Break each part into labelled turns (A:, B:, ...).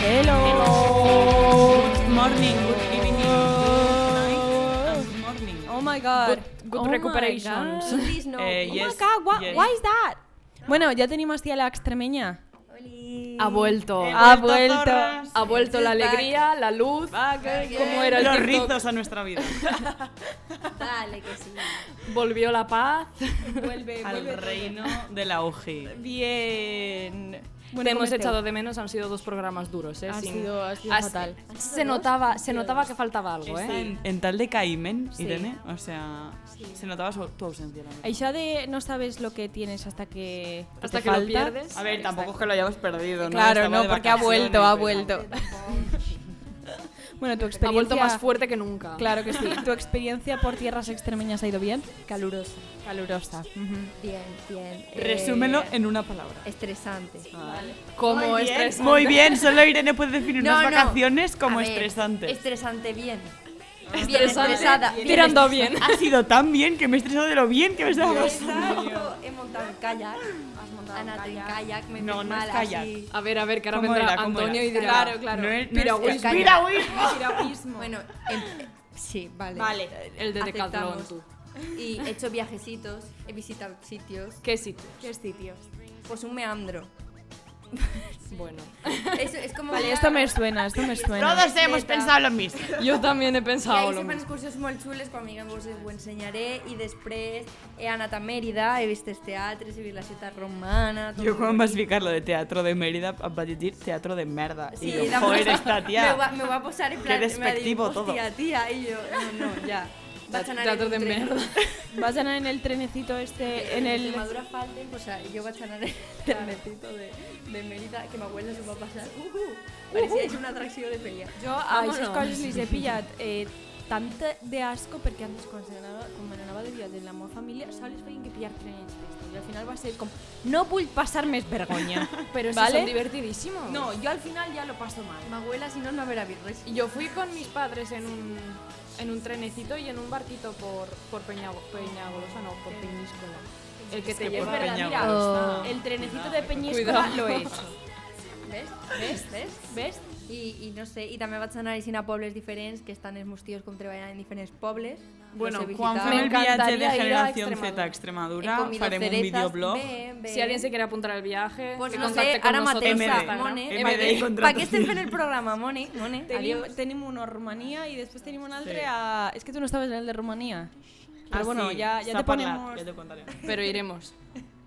A: Hello.
B: Good morning, good evening, good night, and good morning.
A: Oh my god.
C: Good- good
A: oh my
C: recuperations.
A: God. Please no.
B: Eh,
A: oh my
B: yes,
A: god, wha-
B: yes.
A: why is that? Bueno, ya tenemos tía la extremeña.
C: Ha vuelto.
B: He
A: ha vuelto.
B: zorras.
C: Ha vuelto la alegría, la luz.
B: Va, que-
C: ¿Cómo era el
B: Los
C: TikTok?
B: rizos a nuestra vida.
D: Dale, que sí.
C: Volvió la paz.
A: Vuelve,
B: Al reino de la UJI.
A: Bien.
C: Te hemos echado de menos, han sido dos programas duros, ¿eh?
A: este. Ha
C: Sin-
A: sido- ha sido fatal.
C: Se notaba, se notaba que faltaba algo,
B: Está
C: ¿eh?
B: en, en tal decaímen, Irene. O sea, se notaba su- tu ausencia. la verdad.
A: Aisha de no sabes lo que tienes hasta que que
C: Hasta
A: te
C: que lo
A: falta.
C: pierdes.
B: A ver, tampoco es que lo hayamos perdido, ¿no?
A: Claro,
B: Estaba
A: no,
B: de
A: porque ha
B: vacaciones,
A: vuelto, ha
B: pero-
A: vuelto. Bueno, tu experiencia
C: Ha vuelto más fuerte que nunca.
A: Claro que sí. ¿Tu experiencia por tierras extremeñas ha ido bien? Calurosa. Calurosa. ujú.
D: Bien, bien. Eh,
B: Resúmelo en una palabra.
D: Estresante. Ah.
C: Como
B: Muy bien,
C: estresante.
B: Muy bien, solo Irene puede definir
D: No,
B: unas
D: no.
B: vacaciones como
D: A ver,
B: estresantes.
D: Estresante, bien. Bien
C: Estresante,
D: estresada.
C: Tirando bien.
B: Ha sido tan bien que me he estresado de lo bien que me estaba pasando.
D: Exacto. He montado en kayak. Has montado en kayak. Me
B: No,
D: fui
B: no es
D: mal
B: kayak.
D: así.
C: A ver, a ver, que ahora
B: ¿Cómo
C: vendrá
B: era? ¿Cómo
C: Antonio
B: era?
C: y dirá.
A: Claro, claro.
B: No es- no es-
C: Piragüismo.
B: Piragüismo.
A: Piragüismo.
D: Bueno, em- sí, vale.
C: El de Decathlon.
D: Aceptamos. Y he hecho viajecitos, he visitado sitios.
C: ¿Qué sitio?
D: ¿Qué sitios? Pues un meandro.
C: Bueno.
D: Eso es como
A: Vale,
D: una-
A: esto me suena, esto me suena.
B: Todos hemos pensado lo mismo.
C: Yo también he
D: Que
C: pensado
D: ahí
C: lo
D: se fan
C: mismo.
D: cursos molt xules, quan vinguem vos ho ensenyaré, i després he anat a Mèrida, he vist els teatres, he vist la ciutat romana... tot
B: Jo quan
D: molt
B: vas
D: bonic.
B: ficar lo de teatro de Mérida em vaig dir teatro de merda.
D: Sí,
B: I jo,
D: la-
B: joder, esta
D: Me va,
B: tia.
D: me va a posar en plan...
B: Qué despectivo
D: me va a decir, Hostia, tía, y yo, no, no, ya. Vas a anar
C: Teatro
D: en
C: de
D: un tren.
C: merda.
A: Vas a anar en el trenecito
B: Eh,
A: este, en el...
D: Extremadura falta, pues o sea, yo voy a chanar el trenecito de, de Mérida, que mi abuela se va a pasar. Uh -huh. Parecía que es una atracción de pelea.
A: Jo a aquestes
C: Vámonos.
A: coses les he pillat eh, tant de asco perquè antes quan se anava, quan me n'anava de viatge amb la meva família sols feien que pillar trenets d'estos i al final va ser com no vull passar més vergonya
C: Pero sí,
A: ¿Vale?
C: son divertidísimos.
A: no, jo al final ja lo paso mal
D: Mi abuela, si no, no habrá visto eso.
C: Yo fui con mis padres en un, en un trenecito y en un barquito por, por Peña- Peñagolosa, no, por Peñíscola. El que te
B: que por
C: lleva.
A: es verdad,
B: Peña
A: mira,
B: Augusta.
A: el trenecito de Peñíscola
C: Cuidado.
A: lo he hecho
D: ¿Ves? ¿Ves? ¿Ves?
A: ¿ves?
D: I, i no sé, i també vaig anar així a pobles diferents, que estan els meus tios com treballant en diferents pobles.
C: Bueno,
D: los he
B: Quan
D: visitat.
B: fem el viatge de
C: M'encantaria ir a
B: Generación Z
C: Extremadura.
B: a Extremadura,
D: He comido
B: farem un
D: cerezas,
B: videoblog.
D: bé, bé.
C: Oh. Si alguien se quiere apuntar al viaje,
D: Pues
C: que
D: no
C: contacte
D: sé,
C: con
D: ara
C: nosotros en
D: mateix,
C: Instagram.
D: Mone.
B: MD,
D: MD,
B: contratos.
D: Pa què estem fent el programa, Mone? Mone,
A: Tenim,
D: adiós.
A: tenim un a Romania i després tenim un altre
B: Sí.
A: a... És que tu no estaves en el de Romania. Però
B: Ah,
A: bueno,
B: sí,
A: ja, ja
B: s'ha
A: te
B: parlat,
A: ponemos...
B: Ja te contaré.
C: Pero iremos.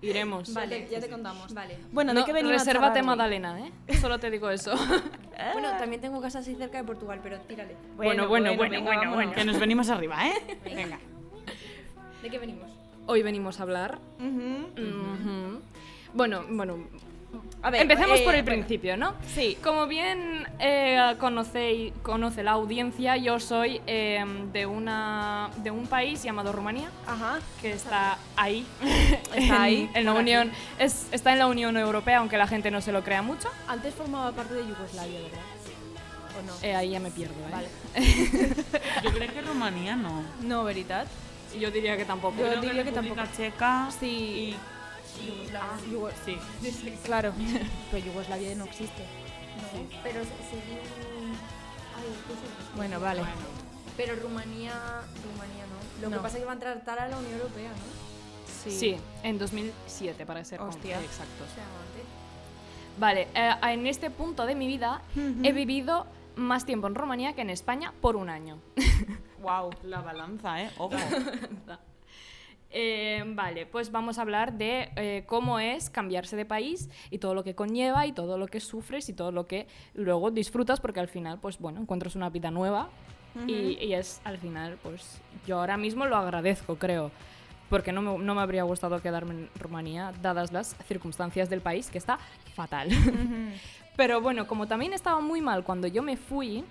C: Iremos.
A: Vale, ya te contamos.
D: Vale.
A: Bueno,
C: No,
A: de qué venimos a
C: resérvate
A: charlar hoy?
C: Madalena, ¿eh? Solo te digo eso.
D: Bueno, también tengo casa así cerca de Portugal, pero tírale.
C: Bueno, bueno, bueno,
A: venga,
C: bueno,
A: vámonos.
B: Que nos venimos arriba, ¿eh?
D: Venga. ¿De qué venimos?
C: Hoy venimos a hablar.
A: Ujú.
C: Ujú. Bueno, bueno.
A: A ver,
C: Empecemos
A: eh,
C: por el
A: bueno.
C: principio, ¿no?
A: Sí.
C: Como bien eh, conocéis- conoce la audiencia, yo soy eh, de, una, de un país llamado Rumanía,
A: Ajá.
C: que está ahí.
A: Está ahí,
C: En, en la
A: por aquí.
C: Unión, es- está en la Unión Europea, aunque la gente no se lo crea mucho.
A: Antes formaba parte de Yugoslavia, ¿verdad? ¿O no?
C: Eh, ahí ya me pierdo, ¿eh?
A: Vale.
B: Jo crec que Romania no.
A: No, veritat?
C: Yo diría que tampoco.
A: Yo
B: Creo
A: diría que
B: República
A: tampoco.
B: Checa
A: Sí. Ah,
B: i...
D: Yugoslavia.
A: Yugo-
B: Sí.
A: Claro. Pero Yugoslavia no existe.
D: No, pero se, se diu- Ai, què se diu?
A: Bueno, vale.
D: Pero Rumanía... Rumanía no. Lo
A: No.
D: que pasa es que va a entrar tal a la Unión Europea, ¿no?
C: Sí. en 2007, para ser con-
A: Hostia.
C: exactos.
D: O sea, antes.
C: Vale, eh, en este punto de mi vida
A: Ujú.
C: he vivido más tiempo en Rumanía que en España por un año.
B: Wow, la balanza, ¿eh? Ojo.
C: Eh, vale, pues vamos a hablar de eh, cómo es cambiarse de país y todo lo que conlleva y todo lo que sufres y todo lo que luego disfrutas porque al final, pues bueno, encuentras una vida nueva y, y es al final, pues yo ahora mismo lo agradezco, creo, porque no me, no me habría gustado quedarme en Rumanía dadas las circunstancias del país que está fatal. Pero bueno, como también estaba muy mal cuando yo me fui,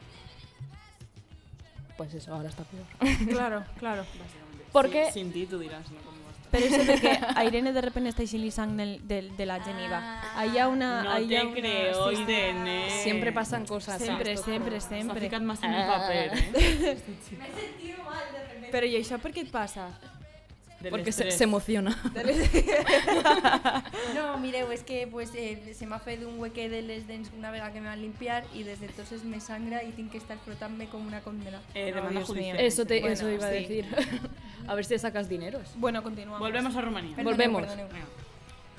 C: pues eso, ahora está peor.
A: Claro, claro.
C: Porque...
B: Sí, sin ti tú dirás, ¿no? ¿Cómo va a estar?
A: Pero eso de que a Irene de repente está sin Lisang del, del- de la Geneva. Ahí ha una...
B: No
A: ahí
B: te
A: ha una-
B: creo,
A: sí, sí.
B: Irene.
C: Siempre pasan Ah. cosas.
A: Sempre,
C: ¿sabes?
A: sempre,
B: S'ha
A: sempre.
B: ficat massa en el paper, eh?
A: Però i això per què et passa?
B: Del
C: porque se,
B: estrés.
C: se emociona.
D: No, mireu, és que pues, eh, se m'ha fet un hueque de les dents una vegada que me van limpiar i des d'entonces me sangra i tinc que estar frotant-me com una condena.
B: Eh,
A: No,
B: demanda
A: Dios mío.
B: judicial.
C: Eso, te,
A: Bueno,
C: eso iba a
A: sí.
C: decir. a ver si te sacas dineros.
A: Bueno, continuamos.
B: Volvemos a Rumanía.
D: Perdoneu,
C: Volvemos.
D: perdoneu.
B: Venga.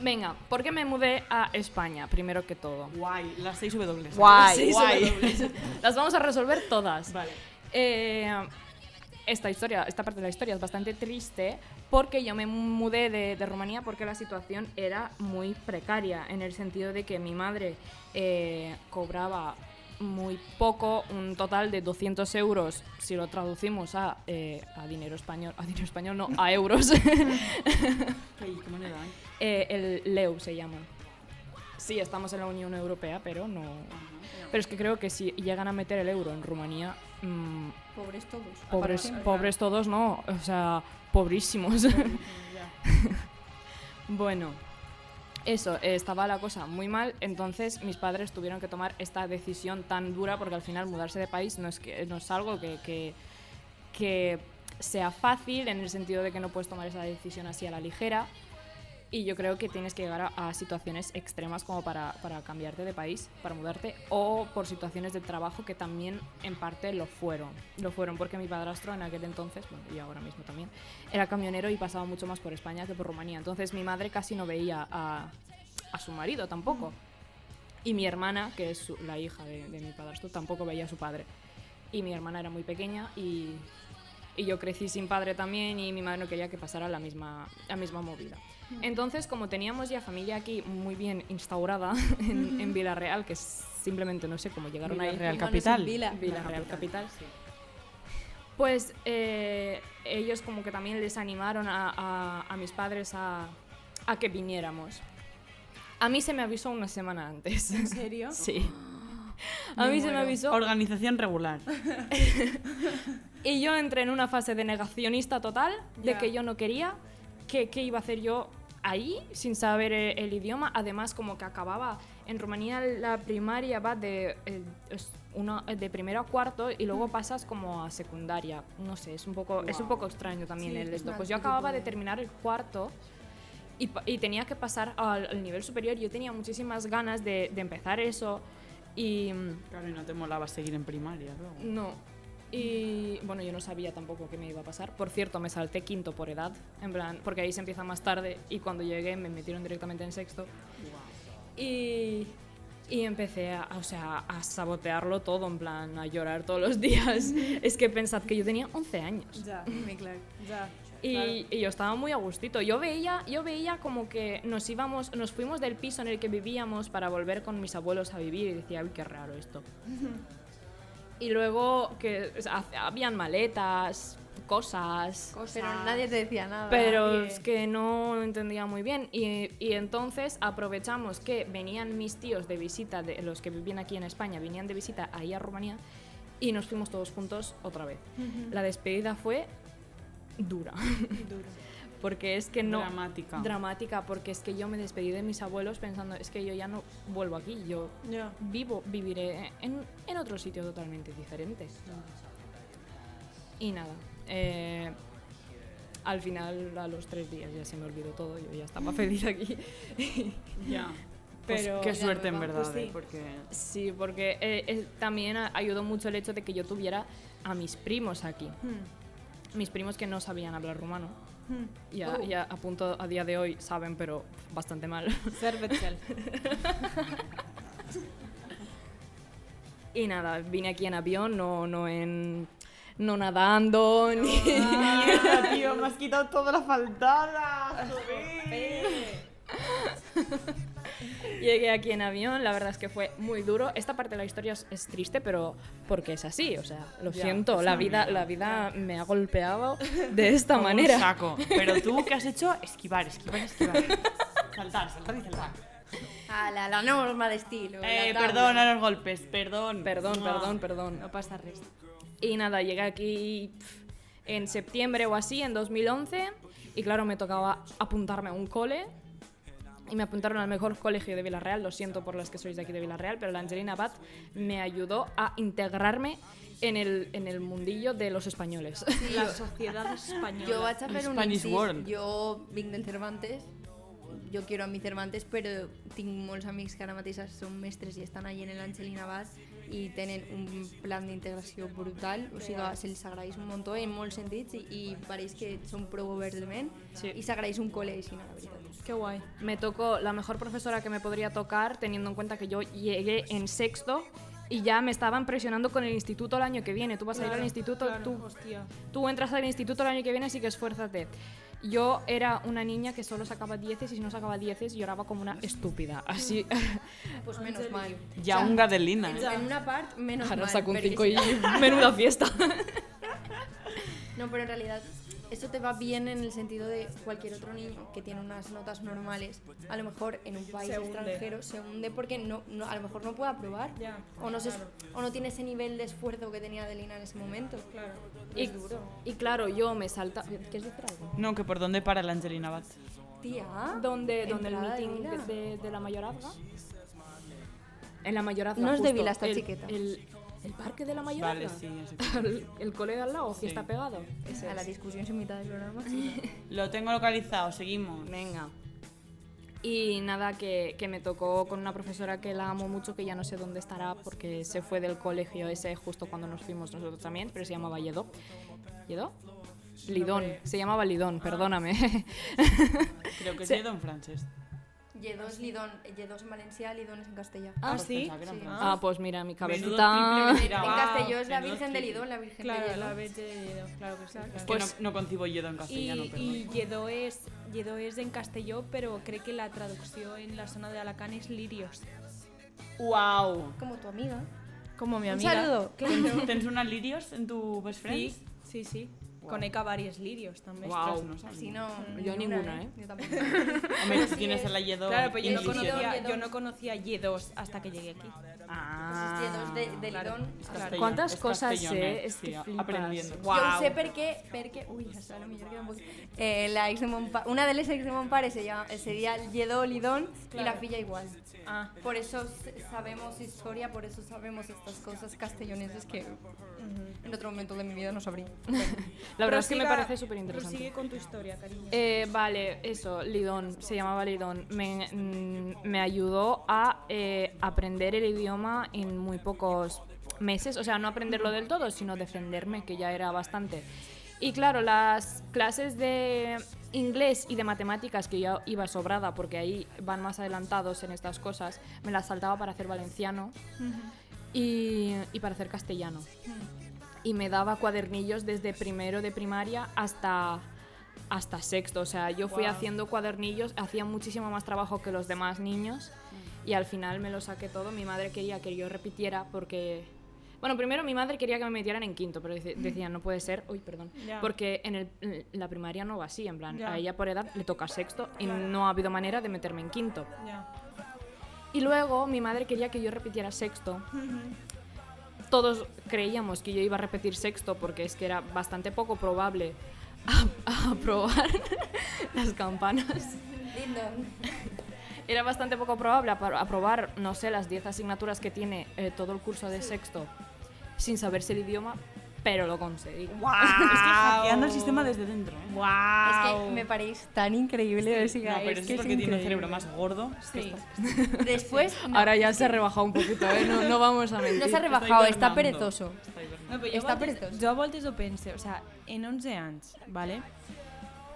C: Venga, ¿por qué me mudé a España? Primero que todo.
B: Guay, las 6 W.
C: Guay.
B: Guay.
C: Las vamos a resolver todas.
B: vale.
C: Eh, esta historia, esta parte de la historia es bastante triste porque yo me mudé de, de Rumanía porque la situación era muy precaria, en el sentido de que mi madre eh, cobraba muy poco, un total de 200 euros, si lo traducimos a, eh, a dinero español, a dinero español no, a euros,
B: Ay, qué moneda, ¿eh?
C: Eh, el LEU se llama. Sí, estamos en la Unión Europea, pero no... Pero es que creo que si llegan a meter el euro en Rumanía, mm,
D: Pobres todos.
C: Pobres,
D: Aparte,
C: pobres todos, no. O sea, pobrísimos. bueno, eso, eh, estaba la cosa muy mal. Entonces mis padres tuvieron que tomar esta decisión tan dura porque al final mudarse de país no es, que, no es algo que, que, que sea fácil en el sentido de que no puedes tomar esa decisión así a la ligera. Y yo creo que tienes que llegar a, a situaciones extremas como para, para cambiarte de país, para mudarte, o por situaciones de trabajo que también en parte lo fueron. Lo fueron porque mi padrastro en aquel entonces, bueno, y ahora mismo también, era camionero y pasaba mucho más por España que por Rumanía. Entonces mi madre casi no veía a, a su marido tampoco. Y mi hermana, que es su- la hija de, de mi padrastro, tampoco veía a su padre. Y mi hermana era muy pequeña y, y yo crecí sin padre también y mi madre no quería que pasara la misma, la misma movida. Entonces, como teníamos ya familia aquí muy bien instaurada en, en Villarreal, que es- simplemente no sé cómo llegaron ahí.
B: Villarreal
D: hermanos
B: Capital.
D: en Vila.
C: Villarreal Capital. Pues eh, ellos como que también les animaron a, a- a mis padres a, a que viniéramos. A mí se me avisó una semana antes.
A: ¿En serio?
C: Sí. A
D: Me
C: mí se me
D: muero.
C: avisó.
B: Organización regular.
C: Y yo entré en una fase de negacionista total, de
A: Ya.
C: que yo no quería, que qué iba a hacer yo ahí sin saber eh, el, idioma. Además, como que acababa en Rumanía la primaria va de, eh, es una- eh, de primero a cuarto y
D: Mm.
C: luego pasas como a secundaria. No sé, es un poco, es un poco extraño también
D: Sí,
C: el
D: es
C: esto.
D: una
C: Pues yo
D: actitud
C: acababa de
D: de-
C: terminar el cuarto. Y, pa- y tenía que pasar al, al nivel superior. Yo tenía muchísimas ganas de, de empezar eso. Y, mm,
B: Claro, y no te molaba seguir en primaria luego.
C: no. Y bueno, yo no sabía tampoco qué me iba a pasar. Por cierto, me salté quinto por edad, en plan, porque ahí se empieza más tarde y cuando llegué me metieron directamente en sexto. Y, y empecé a, o sea, a sabotearlo todo, en plan, a llorar todos los días. es que pensad que yo tenía 11 años.
A: Ya,
D: Dime, claro.
A: ya.
C: Y, y yo estaba muy a gustito. Yo veía, yo veía como que nos íbamos, nos fuimos del piso en el que vivíamos para volver con mis abuelos a vivir y decía, uy, qué raro esto. y luego que o sea, ha- habían maletas, cosas,
D: Pero nadie te decía nada.
C: pero
D: Nadie.
C: es que no entendía muy bien. Y, y entonces aprovechamos que venían mis tíos de visita, de, los que vivían aquí en España, venían de visita ahí a Rumanía y nos fuimos todos juntos otra vez. La despedida fue dura. Porque es que no.
B: Dramática.
C: Dramática, porque es que yo me despedí de mis abuelos pensando, es que yo ya no vuelvo aquí, yo
A: Ya.
C: vivo, viviré en, en otro sitio totalmente diferente. Y nada, eh, al final a los tres días ya se me olvidó todo, yo ya estaba feliz aquí.
B: Ya.
C: Pero-
B: Pues qué suerte, en
D: Pues
B: verdad,
A: sí.
B: eh, porque...
C: sí, porque eh, eh, también a- ayudó mucho el hecho de que yo tuviera a mis primos aquí, mis primos que no sabían hablar rumano. Ya,
D: Oh.
C: ya a punto a día de hoy saben, pero bastante mal.
A: Cervetel.
C: Y nada, vine aquí en avión, no, no en. No nadando, ni.
B: Ah. Mierda, tío, me has quitado toda la faltada.
C: Llegué aquí en avión, la verdad es que fue muy duro. Esta parte de la historia es, es triste, pero porque es así, o sea, lo
B: Ya,
C: siento,
B: es
C: la
B: una
C: vida,
B: mierda.
C: la vida me ha golpeado de esta
B: Como un
C: manera.
B: saco. Pero tú, ¿qué has hecho? Esquivar, esquivar, esquivar. Saltar, saltar y saltar.
D: A la, la norma de estilo.
B: Eh,
D: la tabla.
B: perdón a los golpes, perdón.
C: Perdón,
B: Mua.
C: perdón, perdón.
A: No pasa res.
C: Y nada, llegué aquí pf, en septiembre o así, en 2011, y claro, me tocaba apuntarme a un cole. y me apuntaron al mejor colegio de Villarreal. Lo siento por las que sois de aquí de Villarreal, pero la Angelina Abad me ayudó a integrarme en el, en el mundillo de los españoles.
A: La sociedad española.
D: Jo vaig a fer un
B: Spanish
D: incís.
B: World.
D: Jo vinc del Cervantes, jo quiero a mi Cervantes, però tinc molts amics que ara mateix són mestres i estan allí en l'Angelina Bas i tenen un plan d'integració brutal, o sigui, se'ls agraeix un muntó en molts sentits i, i pareix que són prou oberts de ment
C: Sí.
D: i s'agraeix un col·le així, la veritat.
A: Qué guay.
C: Me tocó la mejor profesora que me podría tocar, teniendo en cuenta que yo llegué en sexto y ya me estaban presionando con el instituto el año que viene. Tú vas a ir al instituto, tú,
A: Hostia.
C: tú entras al instituto el año que viene, así que esfuérzate. Yo era una niña que solo sacaba dieces y si no sacaba dieces lloraba como una estúpida. Así,
D: Pues menos mal.
B: Ya un gadelina. ¿eh?
D: En, en una part, menos
C: ahora
D: mal.
C: saco un
D: perquè
C: 5
D: si
C: y menuda fiesta.
D: No, pero en realidad esto te va bien en el sentido de cualquier otro niño que tiene unas notas normales, a lo mejor en un país
A: Se hunde.
D: extranjero se hunde porque no, no- a lo mejor no puede aprobar
A: Ya,
D: o, no se, o no tiene ese nivel de esfuerzo que tenía Adelina en ese momento.
A: Claro.
C: Y, y claro, yo me salta... ¿Quieres decir algo?
B: No, que por dónde para la Angelina Bat.
D: Tía,
C: donde, donde el
D: entrada
C: meeting
D: divina.
C: de, de- de la mayor azga. En la mayor azga.
D: No es de
C: justo,
D: Vila, está
C: el-
D: chiqueta.
C: El, el parque de la mayor
B: Vale,
C: azga.
B: sí. así.
C: El, el colega al lado que está pegado. Ese
D: a la
C: es.
D: discusión se mitad del programa. sí.
B: este. Lo tengo localizado, seguimos.
C: Venga. Y nada, que, que me tocó con una profesora que la amo mucho, que ya no sé dónde estará porque se fue del colegio ese justo cuando nos fuimos nosotros también, pero se llamaba Yedo. ¿Yedo? Lidón, se llamaba Lidón, perdóname.
B: Creo que
C: Sí.
B: sí, Don Frances.
D: Y2 Lidón, Y2 en Valencia, Lidón es en Castellá.
C: Ah,
B: pues
C: sí.
B: pensaba que era en
D: Sí.
B: Francia.
C: Ah, pues mira, mi
B: Menudo
C: cabecita.
B: triple
D: en
B: mentira.
D: Castelló es la
B: Menudo
D: Virgen de
B: triple.
D: Lidón, la Virgen de
A: Claro,
D: Lidón.
A: la vete de Yedo. Claro que sí. claro.
B: Que no, no concibo Yedo en castellano,
A: Y,
B: perdón.
A: y Yedo es, Yedo es en castelló, pero cree que la traducción en la zona de Alacant es lirios.
B: Wow.
D: Como tu amiga.
A: Como mi
D: Un
A: amiga.
D: saludo.
B: ¿Tens unas lirios en tu best friends?
A: Sí, sí, sí.
B: Guau.
A: Con Eka varios lirios también.
B: Ostras,
C: Guau.
B: no sabía.
D: Así no.
C: Yo ninguna, ¿eh?
D: Yo tampoco.
B: Hombre, si tienes a la Yedo.
A: Claro, pero yo no,
D: Yedo,
A: conocía,
D: Yedo.
A: yo no conocía Yedos hasta que llegué aquí.
D: Ah,
B: Ah.
D: dos de, de Lidón.
B: Es
D: a-
B: castellano,
C: ¿Cuántas
B: es
C: cosas
B: castellano,
C: sé? Es
B: sí,
C: que flipas.
B: aprendiendo.
D: Jo ho sé perquè... perquè ui, això a lo millor queda un poc... Eh, la ex de mon pa... Una de les ex de mon pare se llama, seria Lledó Lidón claro. y la filla igual.
A: Ah,
D: Por eso s- sabemos historia, por eso sabemos estas cosas castelloneses que en otro momento de mi vida no sabría.
C: La verdad es que me
A: Prosiga-
C: parece súper interesante.
A: Prosigue con tu historia, cariño.
C: Eh, vale, eso, Lidón, se llamaba Lidón. Me, mm, me ayudó a eh, aprender el idioma en muy pocos meses, o sea, no aprenderlo del todo, sino defenderme, que ya era bastante. Y claro, las clases de inglés y de matemáticas que yo iba sobrada, porque ahí van más adelantados en estas cosas, me las saltaba para hacer valenciano y, y para hacer castellano. Y me daba cuadernillos desde primero de primaria hasta, hasta sexto. O sea, yo fui haciendo cuadernillos, hacía muchísimo más trabajo que los demás niños y al final me lo saqué todo. Mi madre quería que yo repitiera porque... Bueno, primero mi madre quería que me metieran en quinto, pero dice- decía, no puede ser, uy, perdón,
A: Ya.
C: porque en, el- en la primaria no va así, en plan,
A: Ya.
C: a ella por edad le toca sexto y no ha habido manera de meterme en quinto.
A: Ya.
C: Y luego mi madre quería que yo repitiera sexto. Todos creíamos que yo iba a repetir sexto porque es que era bastante poco probable a- aprobar las campanas.
D: Lindon.
C: Era bastante poco probable apro- aprobar, no sé, las 10 asignaturas que tiene eh, todo el curso de sexto sin saberse el idioma, pero lo conseguí.
B: Wow. Es que hackeando el sistema desde dentro. ¿eh?
D: Es que me paréis tan increíble. O
B: No,
D: sea,
B: pero eso
D: es
B: es
D: que es
B: porque tiene un
D: increíble.
B: cerebro más gordo.
A: Sí.
D: Después no,
C: Ahora ya se ha rebajado un poquito, ¿eh? no, no vamos a mentir.
D: no se ha rebajado, está
B: hibernando.
D: perezoso.
B: Está hibernando.
A: No, però
D: Està
A: a voltes-
D: pretós.
A: Jo a voltes ho penso, o sea, en 11 anys, vale?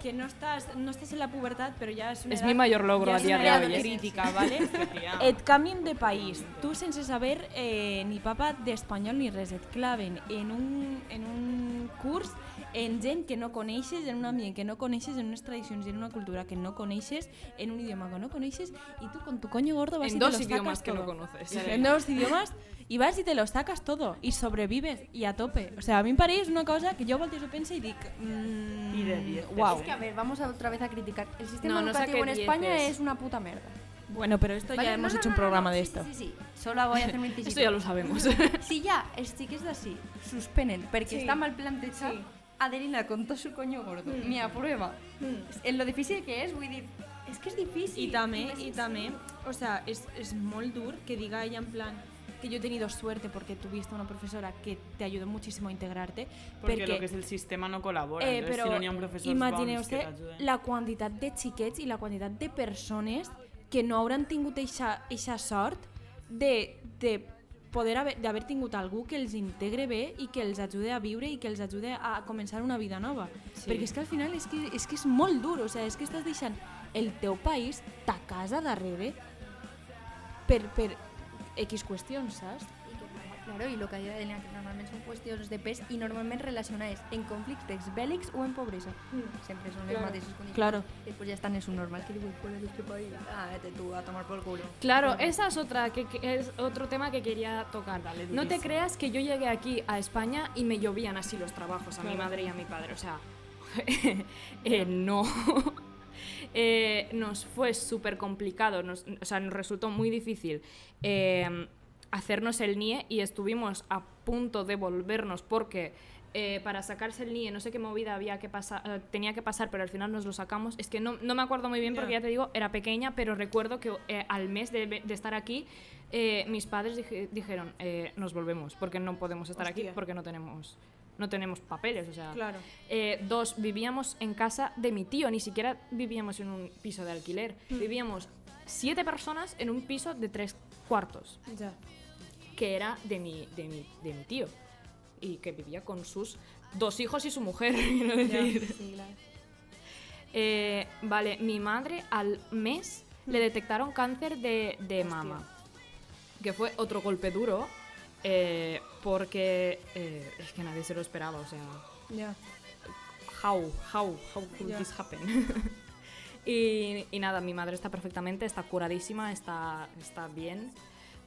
A: que no estàs, no estàs en la pubertat, però ja és una
C: És
A: edat-
C: mi mayor logro
A: ja
C: a
A: és
C: dia
A: una
C: de
A: edat
C: hoy, eh?
A: crítica, vale?
B: tía.
A: et canvien de país, tu sense saber eh, ni papa d'espanyol ni res, et claven en un, en un curs en gent que no coneixes, en un ambient que no coneixes, en unes tradicions i en una cultura que no coneixes, en un idioma que no coneixes, i tu con tu coño gordo vas
C: En
A: y te
C: dos
A: lo sacas
C: idiomas que
A: todo.
C: no conoces.
A: Sí, en dos idiomas y vas y te lo sacas todo y sobrevives y a tope. O sea, a mí en París es una cosa que yo volteo y pienso y digo, mm,
B: Y de diez.
A: guau.
D: Es que a ver, vamos a otra vez a criticar. El sistema
C: No, no
D: educativo en
C: saqué
D: España
C: dieces.
D: es una puta mierda.
A: Bueno, pero esto
D: Vale,
A: ya
D: no,
A: hemos
D: no,
A: hecho un
D: no, no,
A: programa
D: no,
A: de
D: sí,
A: esto.
D: Sí, sí, sí. Solo voy a hacer mi
C: Esto ya lo sabemos.
D: Si ya els xiquets d'ací suspenen perquè
A: Sí.
D: sí. està mal plantejat, sí. Adelina, con todo su coño gordo, mm. me aprueba. Mm. En lo difícil que és, vull dir, és És que és difícil.
A: I també, i també, o sea, és, és molt dur que diga ella en plan que yo he tenido suerte porque tuviste una profesora que te ayudó muchísimo a integrarte.
B: Porque,
A: perquè-
B: lo que es el sistema no colabora.
A: Eh, però
B: entonces, si no n'hi ha un professor
A: imagineu
B: bons que t'ajuden.
A: la quantitat de xiquets i la quantitat de persones que no hauran tingut aquesta sort de, de poder haver, d'haver tingut algú que els integre bé i que els ajude a viure i que els ajude a començar una vida nova. Sí. Perquè és que al final és que, és que és molt dur, o sigui, és que estàs deixant el teu país ta casa darrere per, per X qüestions, saps?
B: Mm.
D: I que, claro, i el que deia Elena, que normalment són qüestions de pes i normalment relacionades en conflictes bèl·lics o en pobresa. Sempre són les mateixes condicions.
A: Claro.
D: Després ja estan, és un normal que diu, fuera de este país. Ah, vete tú a tomar por culo.
C: Claro, esa es otra que, que es otro tema que quería tocar.
B: Dale,
C: no te
B: durísimo.
C: creas que yo llegué aquí a España y me llovían así los trabajos a mi madre y a mi padre. O sea, eh, no. Eh, nos fue súper complicado, nos- o sea, nos resultó muy difícil eh, hacernos el NIE y estuvimos a punto de volvernos porque eh, para sacarse el NIE no sé qué movida había que pasar, eh, tenía que pasar, pero al final nos lo sacamos. Es que no, no me acuerdo muy bien porque ya te digo, era pequeña, pero recuerdo que eh, al mes de, de estar aquí eh, mis padres dije- dijeron, eh, nos volvemos porque no podemos estar aquí
A: Hostia.
C: porque no tenemos, no tenemos papeles, o sea,
A: Claro.
C: eh, dos, vivíamos en casa de mi tío, ni siquiera vivíamos en un piso de alquiler. Vivíamos siete personas en un piso de tres cuartos,
A: Ja.
C: que era de mi, de mi, de mi tío, y que vivía con sus dos hijos y su mujer. quiero decir. Eh, vale, mi madre al mes le detectaron cáncer de, de mama, que fue otro golpe duro, eh, porque eh, es que nadie se lo esperaba, o sea
A: Ja.
C: how, how, how could
A: Ya.
C: this happen? y, y nada, mi madre está perfectamente, está curadísima, está, está bien.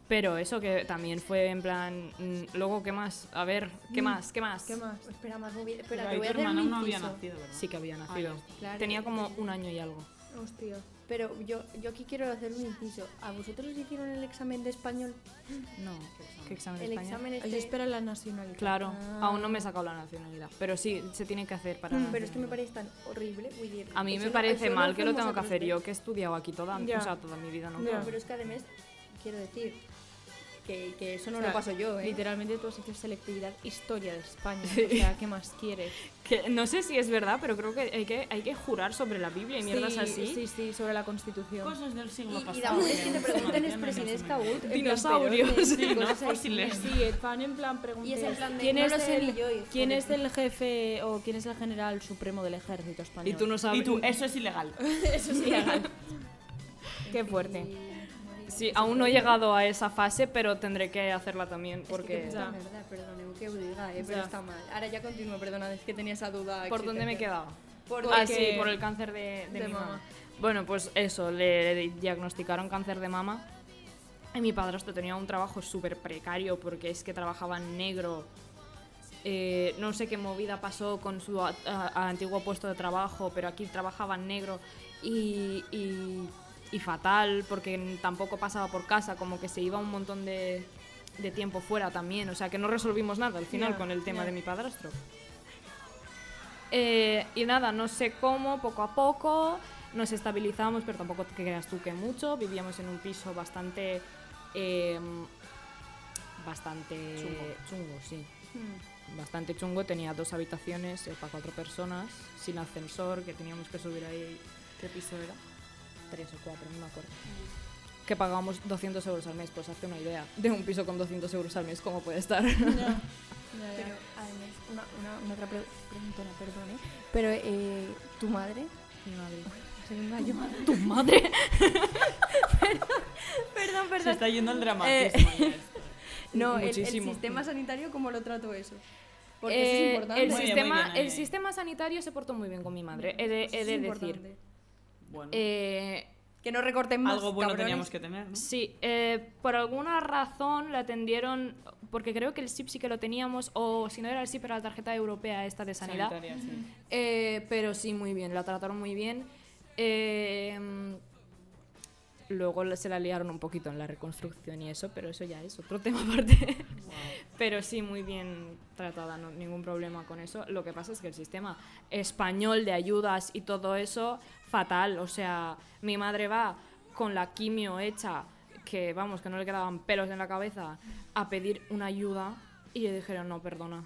C: Pero eso que también fue en plan, mm, luego, ¿qué más? A ver, ¿qué más? ¿Qué más?
A: Què més?
D: Espera, más movida. Espera,
B: Pero
D: te
B: ahí tu
D: voy a hacer
B: hermana
D: un
B: no había
D: inciso.
B: nacido, ¿verdad?
C: Sí que había nacido.
B: Ah, ya.
D: Claro.
C: Tenía como un año y algo.
A: Hòstia.
D: Pero yo, yo aquí quiero hacer un inciso. ¿A vosotros os hicieron el examen de español?
C: No, ¿qué examen de
D: El
C: España?
D: examen este...
A: Això és per a la nacionalitat.
C: Claro,
D: Ah.
C: aún no me he sacado la nacionalidad. Pero sí, se tiene que hacer para. la
D: Mm, Pero es que me
C: nacionalidad.
D: parece tan horrible. vull dir,
C: A mí
D: eso
C: me
D: no-
C: parece
D: eso no
C: mal que lo
D: fuimos
C: tengo que
D: a
C: hacer
D: Cruz
C: yo, que he estudiado aquí toda,
A: Ya.
C: o sea, toda mi vida. No,
A: Ya.
D: No, pero es que además, quiero decir, que, que eso no
A: O sea,
D: lo paso yo, ¿eh?
A: Literalmente tú has hecho selectividad historia de España. O sea, ¿qué más quieres?
C: Que no sé si es verdad, pero creo que hay que, hay que jurar sobre la Biblia y mierdas
A: sí,
C: así.
A: Sí, sí, sobre la Constitución.
B: Cosas del siglo
D: Y,
B: pasado.
D: y de amores que te pregunten
B: Sí,
D: es
B: no, no,
D: presidentes
B: no, no, no.
D: Kaut.
C: Dinosaurios.
B: Sí, ¿no?
A: Sí,
B: Fósiles.
A: sí, fan en plan preguntas.
D: Y es en plan de,
A: ¿Quién
D: no
A: es
D: lo sé
A: el,
D: ni yo, hijo
A: ¿Quién
D: de
A: es el jefe o quién es el general supremo del ejército español?
C: Y tú no sabes.
B: Y tú, eso es ilegal.
A: Eso es ilegal. Qué fuerte.
C: Sí, aún no he llegado a esa fase, pero tendré que hacerla también porque.
D: Es
A: Ya.
D: una verdad, perdoneu que ho diga, eh,
A: Ya.
D: però està mal. Ara ja continua, perdona, és que tenia esa duda.
C: ¿Por dónde me he
D: existencial.
C: quedado?
D: Por
C: ah,
D: de
C: sí,
D: que-
C: por el cáncer de, de
D: de
C: mi
D: mama.
C: mamá. Bueno, pues eso, le diagnosticaron cáncer de mama. Y mi padrastro tenía un trabajo súper precario porque es que trabajaba en negro. Eh, no sé qué movida pasó con su a- a- antiguo puesto de trabajo, pero aquí trabajaba en negro y, y- y fatal porque tampoco pasaba por casa, como que se iba un montón de, de tiempo fuera también. O sea que no resolvimos nada al final
A: Ya,
C: con el tema
A: ya.
C: de mi padrastro. Eh, y nada, no sé cómo, poco a poco nos estabilizamos, pero tampoco te creas tú que mucho. Vivíamos en un piso bastante. eh, bastante.
B: Chungo.
C: chungo, sí. Bastante chungo. Tenía dos habitaciones eh, para cuatro personas, sin ascensor, que teníamos que subir ahí. ¿Qué piso era? Tres o cuatro, no me acuerdo.
D: Mm.
C: Que pagábamos 200 euros al mes, pues hazte una idea de un piso con 200 euros al mes, cómo puede estar.
D: Pero, además, una, una, una otra pre- preguntona, perdón, eh. Pero, eh, ¿tu madre?
C: Mi madre.
D: Soy un gallo.
C: ¡Tu madre!
D: perdón,
B: Se
D: perdón.
B: está yendo el dramatismo. ya esto.
D: No, el, el
C: Muchísimo.
D: sistema sanitario, ¿cómo lo trato eso? Porque eso
C: Eh,
D: es importante.
C: El,
B: Muy bien,
C: sistema,
B: muy bien, ahí,
C: el
B: ahí.
C: sistema sanitario se portó muy bien con mi madre, he de, he
D: Eso
C: de
D: es
C: decir.
D: importante.
B: Bueno,
C: Eh,
D: Que no recorten más,
B: algo bueno
D: cabrones.
B: teníamos que tener, ¿no?
C: sí, eh, por alguna razón la atendieron, porque creo que el SIP sí que lo teníamos, o si no era el SIP, era la tarjeta europea esta de sanidad.
B: Sanitaria, sí.
C: Eh, pero sí, muy bien, la trataron muy bien. Eh, Luego la- se la liaron un poquito en la reconstrucción y eso, pero eso ya es otro tema aparte. Pero sí, muy bien tratada, no, ningún problema con eso. Lo que pasa es que el sistema español de ayudas y todo eso, fatal. O sea, mi madre va con la quimio hecha, que vamos, que no le quedaban pelos en la cabeza, a pedir una ayuda y le dijeron, no, perdona.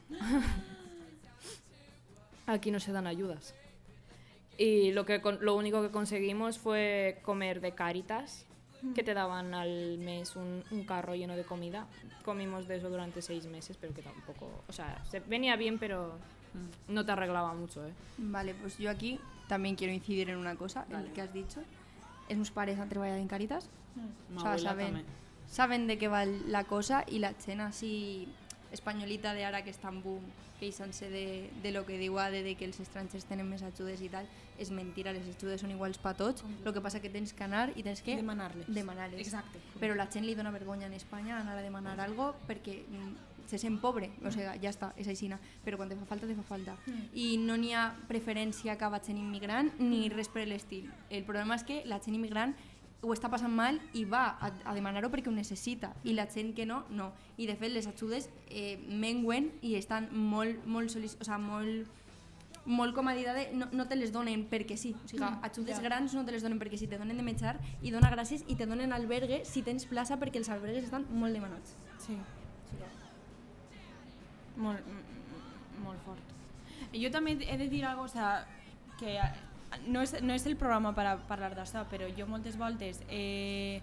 C: Aquí no se dan ayudas. Y lo, que, con- lo único que conseguimos fue comer de caritas,
A: Mm.
C: que te daban al mes un, un carro lleno de comida. Comimos de eso durante seis meses, pero que tampoco. O sea, se venía bien, pero
A: Mm.
C: no te arreglaba mucho, ¿eh?
D: Vale, pues yo aquí también quiero incidir en una cosa, en
A: Vale.
D: lo que has dicho. Es mos pares han treballat en Càritas,
A: Ma
D: O sea,
A: abuela
D: saben.
A: també.
D: saben de qué va la cosa y la escena así españolita de ara que està en boom, queixant-se de, de lo que diu ADE, de que els estrangers tenen més ajudes i tal, és mentira, les ajudes són iguals per tots, el que passa que tens que anar i tens que
E: Demanar-les.
D: demanar-les.
E: Exacte.
D: Però la gent li dona vergonya en Espanya anar a demanar algo perquè mm, se sent pobre, o sigui, ja està, és aixina, però quan te fa falta, te fa falta. I no n'hi ha preferència cap a gent immigrant ni res per l'estil. El problema és que la gent immigrant ho està passant mal i va a, a demanar-ho perquè ho necessita i la gent que no, no. I de fet les ajudes eh, menguen i estan molt, molt, solic... o sigui, molt molt com a dir de no, no te les donen perquè sí, o sigui, ajudes grans no te les donen perquè sí, te donen de menjar i dona gràcies i te donen albergue si tens plaça perquè els albergues estan molt demanats.
E: Sí.
A: Molt, mm, molt fort. Jo també he de dir alguna cosa que eh, no és, no és el programa per a parlar d'això, però jo moltes voltes... Eh,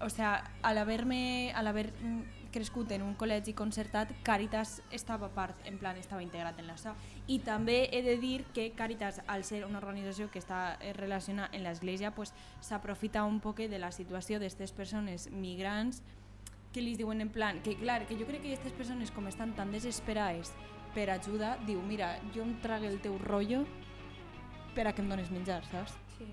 A: o sea, al haberme, al haber mm, crescut en un col·legi concertat, Càritas estava part, en plan, estava integrat en la SA. I també he de dir que Càritas, al ser una organització que està eh, relacionada en l'Església, pues, s'aprofita un poc de la situació d'aquestes persones migrants que li diuen en plan, que clar, que jo crec que aquestes persones com estan tan desesperades per ajuda, diu, mira, jo em trague el teu rotllo per a que em dones menjar, saps?
D: Sí.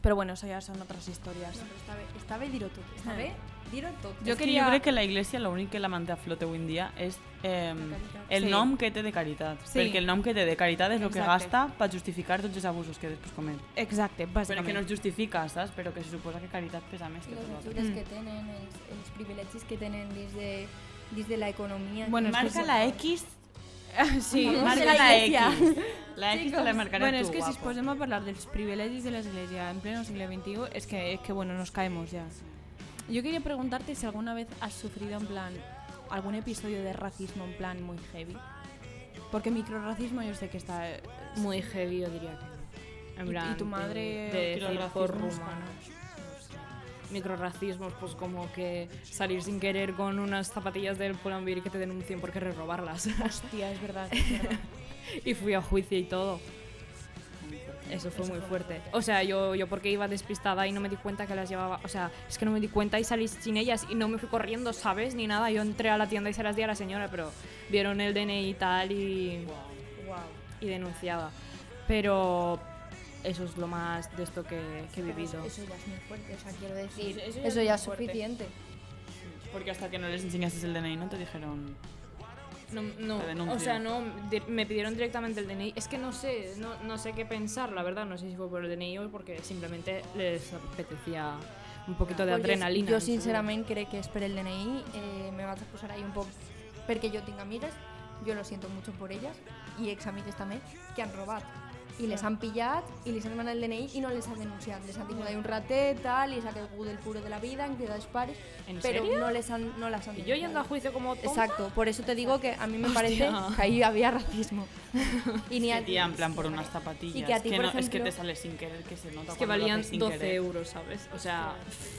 A: Però bueno, això ja són altres històries.
D: No, però està bé, està bé dir-ho tot, està bé dir-ho tot.
B: Jo,
D: És que
B: quería... jo crec que la Iglesia l'únic que la manté a flote avui en dia és eh,
D: caritat.
B: el
A: Sí.
B: nom que té de caritat.
A: Sí.
B: Perquè el nom que té de caritat és el que
A: Exacte.
B: gasta per justificar tots els abusos que després comet.
A: Exacte,
B: Però que no
A: bàsicament.
B: es justifica, saps? Però que se suposa que caritat pesa més que
D: les
B: tot l'altre.
D: ajudes que tenen, els, els privilegis que tenen dins de, dins de la economia.
A: Bueno, és que
B: Marca
A: sí.
B: la X.
A: Sí,
B: Marca
D: la
B: la X.
D: Iglesia.
B: La X te la marcaré
A: bueno,
B: tu,
A: és que si
B: guapo.
A: ens posem a parlar dels privilegis de l'Església en pleno segle XXI, és que, és que bueno, nos caemos ya. Yo quería preguntarte si alguna vez has sufrido en plan algún episodio de racismo en plan muy heavy. Porque microracismo yo sé que está... eh,
C: Muy heavy, yo diría que no. En
A: ¿Y- y
C: plan
A: tu madre
C: De, de decir
B: microrracismos
C: por
B: con-
C: rumanos. no sé. Microrracismos, pues como que salir sin querer con unas zapatillas del Pull&Bear y que te denuncien por querer robarlas.
A: Hostia, es verdad. es verdad.
C: y fui a juicio y todo. Eso fue muy fuerte. O sea, yo, yo porque iba despistada y no me di cuenta que las llevaba. O sea, es que no me di cuenta y salí sin ellas y no me fui corriendo, ¿sabes? Ni nada. Yo entré a la tienda y se las di a la señora, pero vieron el DNI y tal y. Y denunciada. Pero eso es lo más de esto que, que he vivido.
D: Eso ya es muy fuerte, o sea, quiero decir,
A: Eso-
D: eso,
A: eso ya
D: ya,
A: es muy
D: es
A: fuerte.
D: suficiente.
B: Porque hasta que no les enseñaste el DNI no te dijeron...
C: No, no,
B: La denuncia.
C: o sea, no, di- me pidieron directamente el DNI. Es que no sé, no, no sé qué pensar, la verdad, no sé si fue por el DNI o porque simplemente les apetecía un poquito de
D: Pues jo-
C: adrenalina.
D: Jo,
C: en su-
D: sincerament, crec que és per el DNI. Eh, me vaig a posar ahí un poc... Perquè jo tinc amigues, jo lo siento mucho por ellas, i examigues també, que han robat. I les han pillat, i les han demanat el DNI, i no les han denunciat. Les han tingut ahí un ratet, tal, i s'ha caigut el puro de la vida, han quedat els pares...
C: ¿En
D: però
C: serio?
D: no, les han, no les han
C: Y yo yendo a
D: denunciat.
C: juicio como tonta.
D: Exacto, por eso te digo que a mí me
C: Hostia.
D: parece que ahí había racismo. y ni
B: Que
D: a-
B: tía, en plan por unas zapatillas.
D: Y que a ti, por
B: no, es que
D: ejemplo-
B: te sale sin querer, que se nota
C: Es que
B: cuando lo
C: valían
B: haces sin
C: 12
B: querer.
C: euros, ¿sabes? O sea,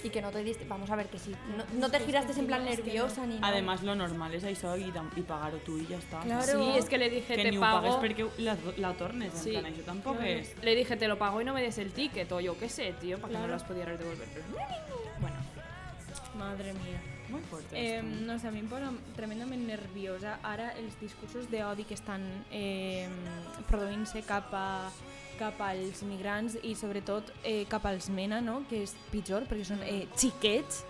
D: Y que no te diste, vamos a ver que sí. No, no te giraste en plan nerviosa ni nada.
B: Además, lo normal es eso y, tam- y pagar tú y ya está.
D: Claro.
C: sí, es que le dije,
B: Que
C: te
B: ni ho pagues
C: pago.
B: perquè la, la tornes,
C: Sí.
B: en plan, això tampoc és...
C: Le dije, te lo pago y no me des el ticket, o yo qué sé, tío, para que no las pudieras devolver. Pero, Bueno,
A: Madre mía.
B: Muy fuerte
A: Eh,
B: esto.
A: no sé, a mi em posa tremendament nerviosa ara els discursos d'odi que estan eh, produint-se cap, a, cap als migrants i sobretot eh, cap als MENA, no? que és pitjor perquè són eh, xiquets.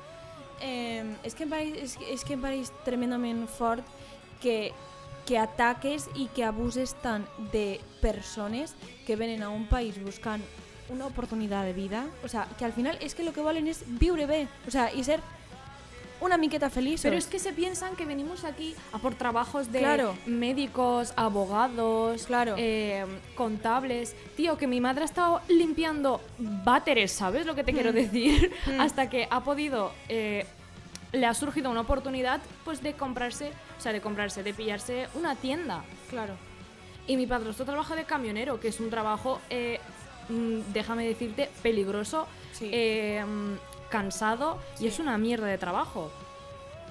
A: Eh, és, que em pareix, és, que- és que em pareix tremendament fort que, que ataques i que abuses tant de persones que venen a un país buscant una oportunitat de vida, o sea, que al final és que el que volen és viure bé, o sea, i ser una miqueta feliç.
C: Pero es que se piensan que venimos aquí a por trabajos de
A: Claro.
C: médicos, abogados,
A: Claro.
C: eh, contables. Tío, que mi madre ha estado limpiando váteres, ¿sabes lo que te
A: Mm.
C: quiero decir? Hasta que ha podido, eh, le ha surgido una oportunidad pues de comprarse, o sea, de comprarse, de pillarse una tienda.
A: Claro.
C: Y mi padrastro trabaja de camionero, que es un trabajo, eh, mm, déjame decirte, peligroso,
A: Sí.
C: eh, mm, cansado y es una mierda de trabajo.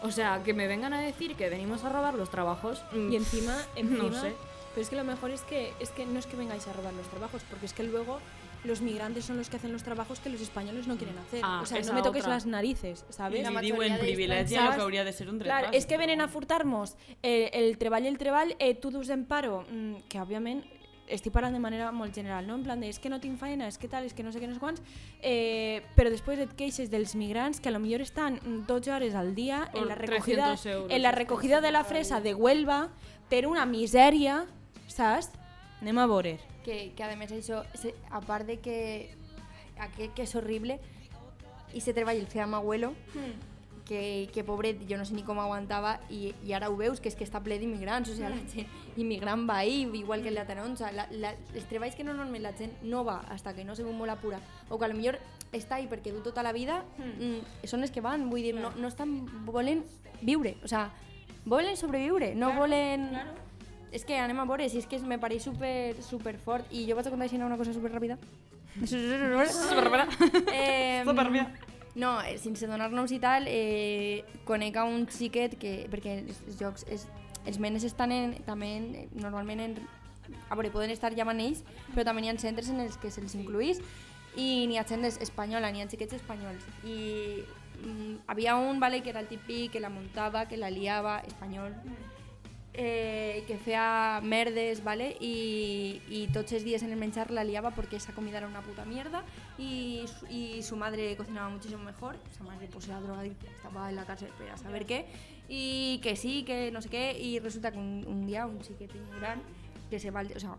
C: O sea, que me vengan a decir que venimos a robar los trabajos. mm,
A: Y encima, encima
C: No sé.
A: pero es que lo mejor es que, es que no es que vengáis a robar los trabajos, porque es que luego los migrantes son los que hacen los trabajos que los españoles no quieren hacer.
C: Ah,
A: o sea,
C: esa
A: no me toques
C: otra.
A: las narices,
F: I
A: ¿sabes?
D: La
F: li
D: majoria
F: diuen
D: de
F: privilegia el
A: dispensats-
F: que hauria de ser un dret
A: Clar, és que venen a furtar-nos eh, el treball i el treball, eh, tu dus en paro, mm, que òbviament estic parlant de manera molt general, no? en plan de és que no tinc feina, és que tal, és que no sé què, no sé quants, eh, però després et queixes dels migrants que a lo millor estan mm, 12 hores al dia en
C: Por
A: la recogida,
C: 300 euros,
A: en la
C: es que
A: recogida de la fresa de Huelva per una misèria, saps? Anem a veure.
D: Que, que además eso, se- aparte de que, a que, que es horrible, y se treballa el feo a mi abuelo, Hmm. que, que pobret, jo no sé ni com aguantava, i, i ara ho veus, que és que està ple d'immigrants, o sigui, la gent Hmm. immigrant va ahir, igual que la taronja, la, la, els treballs que normalment la gent no va, hasta que no se veu molt a pura, o que potser està ahí perquè du tota la vida, mm. són els que van, vull dir, no, no estan, volen viure, o sigui, volen sobreviure, no volen... És que anem a veure, si és que me pareix super, super fort i jo vaig a contar així una cosa super ràpida. Eh,
F: Superbé.
D: No, eh, sense donar-nos i tal, eh, conec a un xiquet que... Perquè els els jocs... Els, els menes estan en, també en, normalment en... A veure, poden estar ja en ells, però també n'hi ha centres en els que se'ls incluís i n'hi ha gent es- espanyola, n'hi ha xiquets espanyols. I mm, havia un, vale, que era el típic, que la muntava, que la liava, espanyol, eh, que feia merdes, ¿vale? Y, y tots els dies en el menjar la liaba porque esa comida era una puta mierda y, su- y su madre cocinaba muchísimo mejor, su madre pues era drogadicta, estaba en la cárcel pero a saber qué, y que sí, que no sé qué, y resulta que un, un día un chiquitín gran que se va, al- o sea,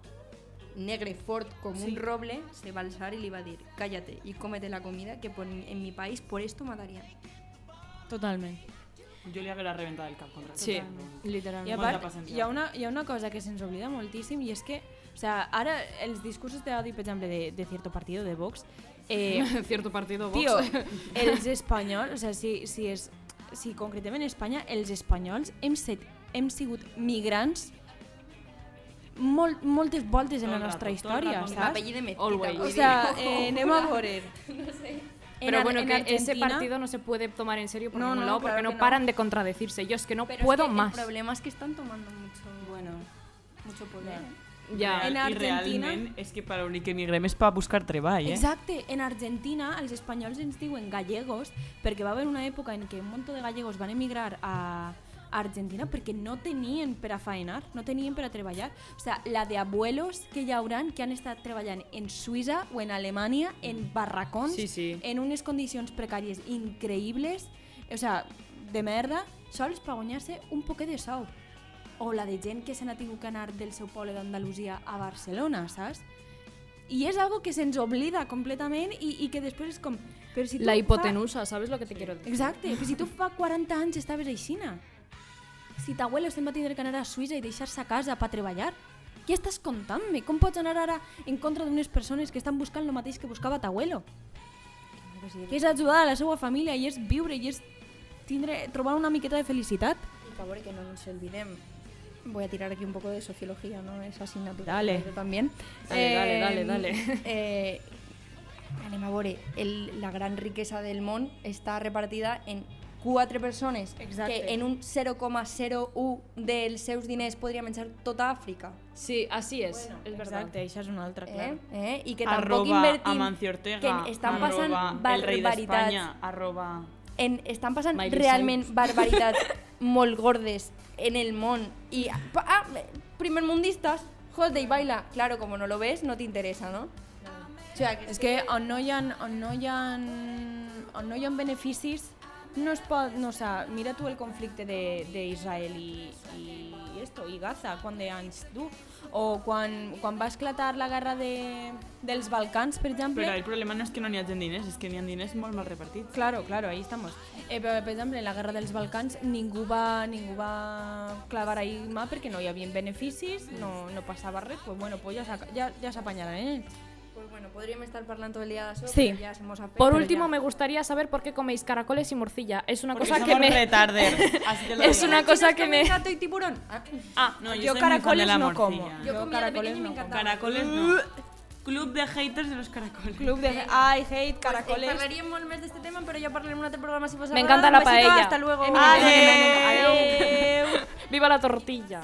D: negre fort como un roble, se va a alzar y le iba a decir, cállate y cómete la comida que por- en mi país por esto matarían.
A: Totalment.
F: Jo li haguera reventat el cap contra
C: Sí,
A: I a
C: literalment.
F: Molta
A: part,
F: paciència.
A: hi ha, una, hi ha una cosa que se'ns oblida moltíssim i és que, o sea, ara els discursos d'odi, per exemple, de, de cierto partido, de Vox, eh,
C: Cierto partido, Vox.
A: Tio, els espanyols, o sigui, si, si, és, si concretament a Espanya, els espanyols hem, set, hem sigut migrants molt, moltes voltes en
F: Tot
A: la
F: el
A: nostra
F: rato, tot el
A: història,
F: rato.
A: saps?
D: Apellido mezquita,
C: Always.
D: vull
A: O
D: dir.
A: sea, eh, anem a veure.
C: Pero
A: Ar-
C: bueno, que ese
A: Argentina-
C: partido no se puede tomar en serio por
A: No,
C: ningún
A: no,
C: lado
A: claro
C: porque
A: que
C: no
A: no.
C: paran de contradecirse. Yo es que no
D: Pero es
C: puedo
D: que
C: más.
D: El problema es que están tomando mucho,
B: Bueno,
D: mucho poder.
C: Ya.
A: En
F: I
A: Argentina-
F: realment és que per a l'únic que emigrem és per buscar treball, eh?
A: Exacte, en Argentina els espanyols ens diuen gallegos perquè va haver una època en què un munt de gallegos van emigrar a a Argentina perquè no tenien per a faenar, no tenien per a treballar. O sigui, la de abuelos que hi hauran que han estat treballant en Suïssa o en Alemanya, en barracons,
F: Sí, sí.
A: en unes condicions precàries increïbles, o sigui, de merda, sols per guanyar-se un poquet de sou. O la de gent que se n'ha tingut que anar del seu poble d'Andalusia a Barcelona, saps? I és algo que se'ns oblida completament i, i que després és com... Però si tu
C: La
A: fa-
C: hipotenusa, ¿sabes lo que te quiero decir?
A: Exacte, però si tu fa 40 anys estaves a Xina. Si t'abuelo se'n va tindre que anar a Suïssa i deixar-se a casa per treballar, què estàs contant-me? Com pots anar ara en contra d'unes persones que estan buscant el mateix que buscava t'abuelo? Que és ajudar a la seva família i és viure i és tindre, trobar una miqueta de felicitat.
D: Por favor, que no nos olviden. Voy a tirar aquí un poco de sociología, ¿no? Es asignatura.
A: Dale.
D: Yo también. Em,
C: Dale, dale, dale, dale.
D: Eh, anem a veure, el- la gran riqueza del món està repartida en quatre persones
A: Exacte.
D: que en un 0,01 dels seus diners podria menjar tota Àfrica.
C: Sí, así es. es verdad.
A: Exacte, això és una altra,
D: Eh?
A: clar.
D: Eh? I que tampoc
F: arroba
D: invertim...
F: Amancio Ortega,
D: que estan passant
F: arroba el rei
D: barbaritats.
F: d'Espanya, arroba...
D: en, estan passant
C: Miley
D: realment
C: Cyrus.
D: barbaritats molt gordes en el món i pa- ah, primer mundistas joder, baila, claro, como no lo ves no te interesa, ¿no? O sea, que
A: És que on no hi ha, on no hi ha, on no hi ha beneficis no es pot... No, o sea, mira tu el conflicte de- d'Israel i, i esto, i Gaza, quan de anys du. O quan, quan va esclatar la guerra de, dels Balcans, per exemple...
B: Però el problema no és que no n'hi hagi diners, és que n'hi ha diners molt mal repartits.
A: Claro, claro, ahí estamos. Eh, però, per exemple, en la Guerra dels Balcans ningú va, ningú va clavar ahí mà perquè no hi havia beneficis, no, no passava res, pues bueno, pues ja s'ac- ja, ja s'apanyaran eh? ells.
D: Pues bueno, podríamos estar hablando todo el día de eso,
A: Sí.
D: pero ya somos a
C: Por
D: pero
C: último,
D: ya.
C: me gustaría saber por qué coméis caracoles y morcilla. Es una
B: Porque
C: cosa
B: somos
C: que me...
B: retarders, así te lo
C: Es
B: digo.
C: una cosa que me...
D: Gato y tiburón. Ah,
B: Ah, no,
A: Yo
B: yo, soy muy fan de
A: caracoles
B: la
A: no como.
B: morcilla.
D: Yo
A: Yo Mm.
D: comía de
A: caracoles
D: pequeña y
A: no
D: me
A: como.
D: encantaba.
B: Caracoles no. Club de haters de los caracoles.
A: Club de... Ai, hate, caracoles...
D: Hablaríamos más de este tema, pero ya hablaré en otro programa si vos
C: Me encanta la paella.
D: Hasta luego.
C: Eh,
A: Adeu! Adeu!
C: ¡Viva la tortilla!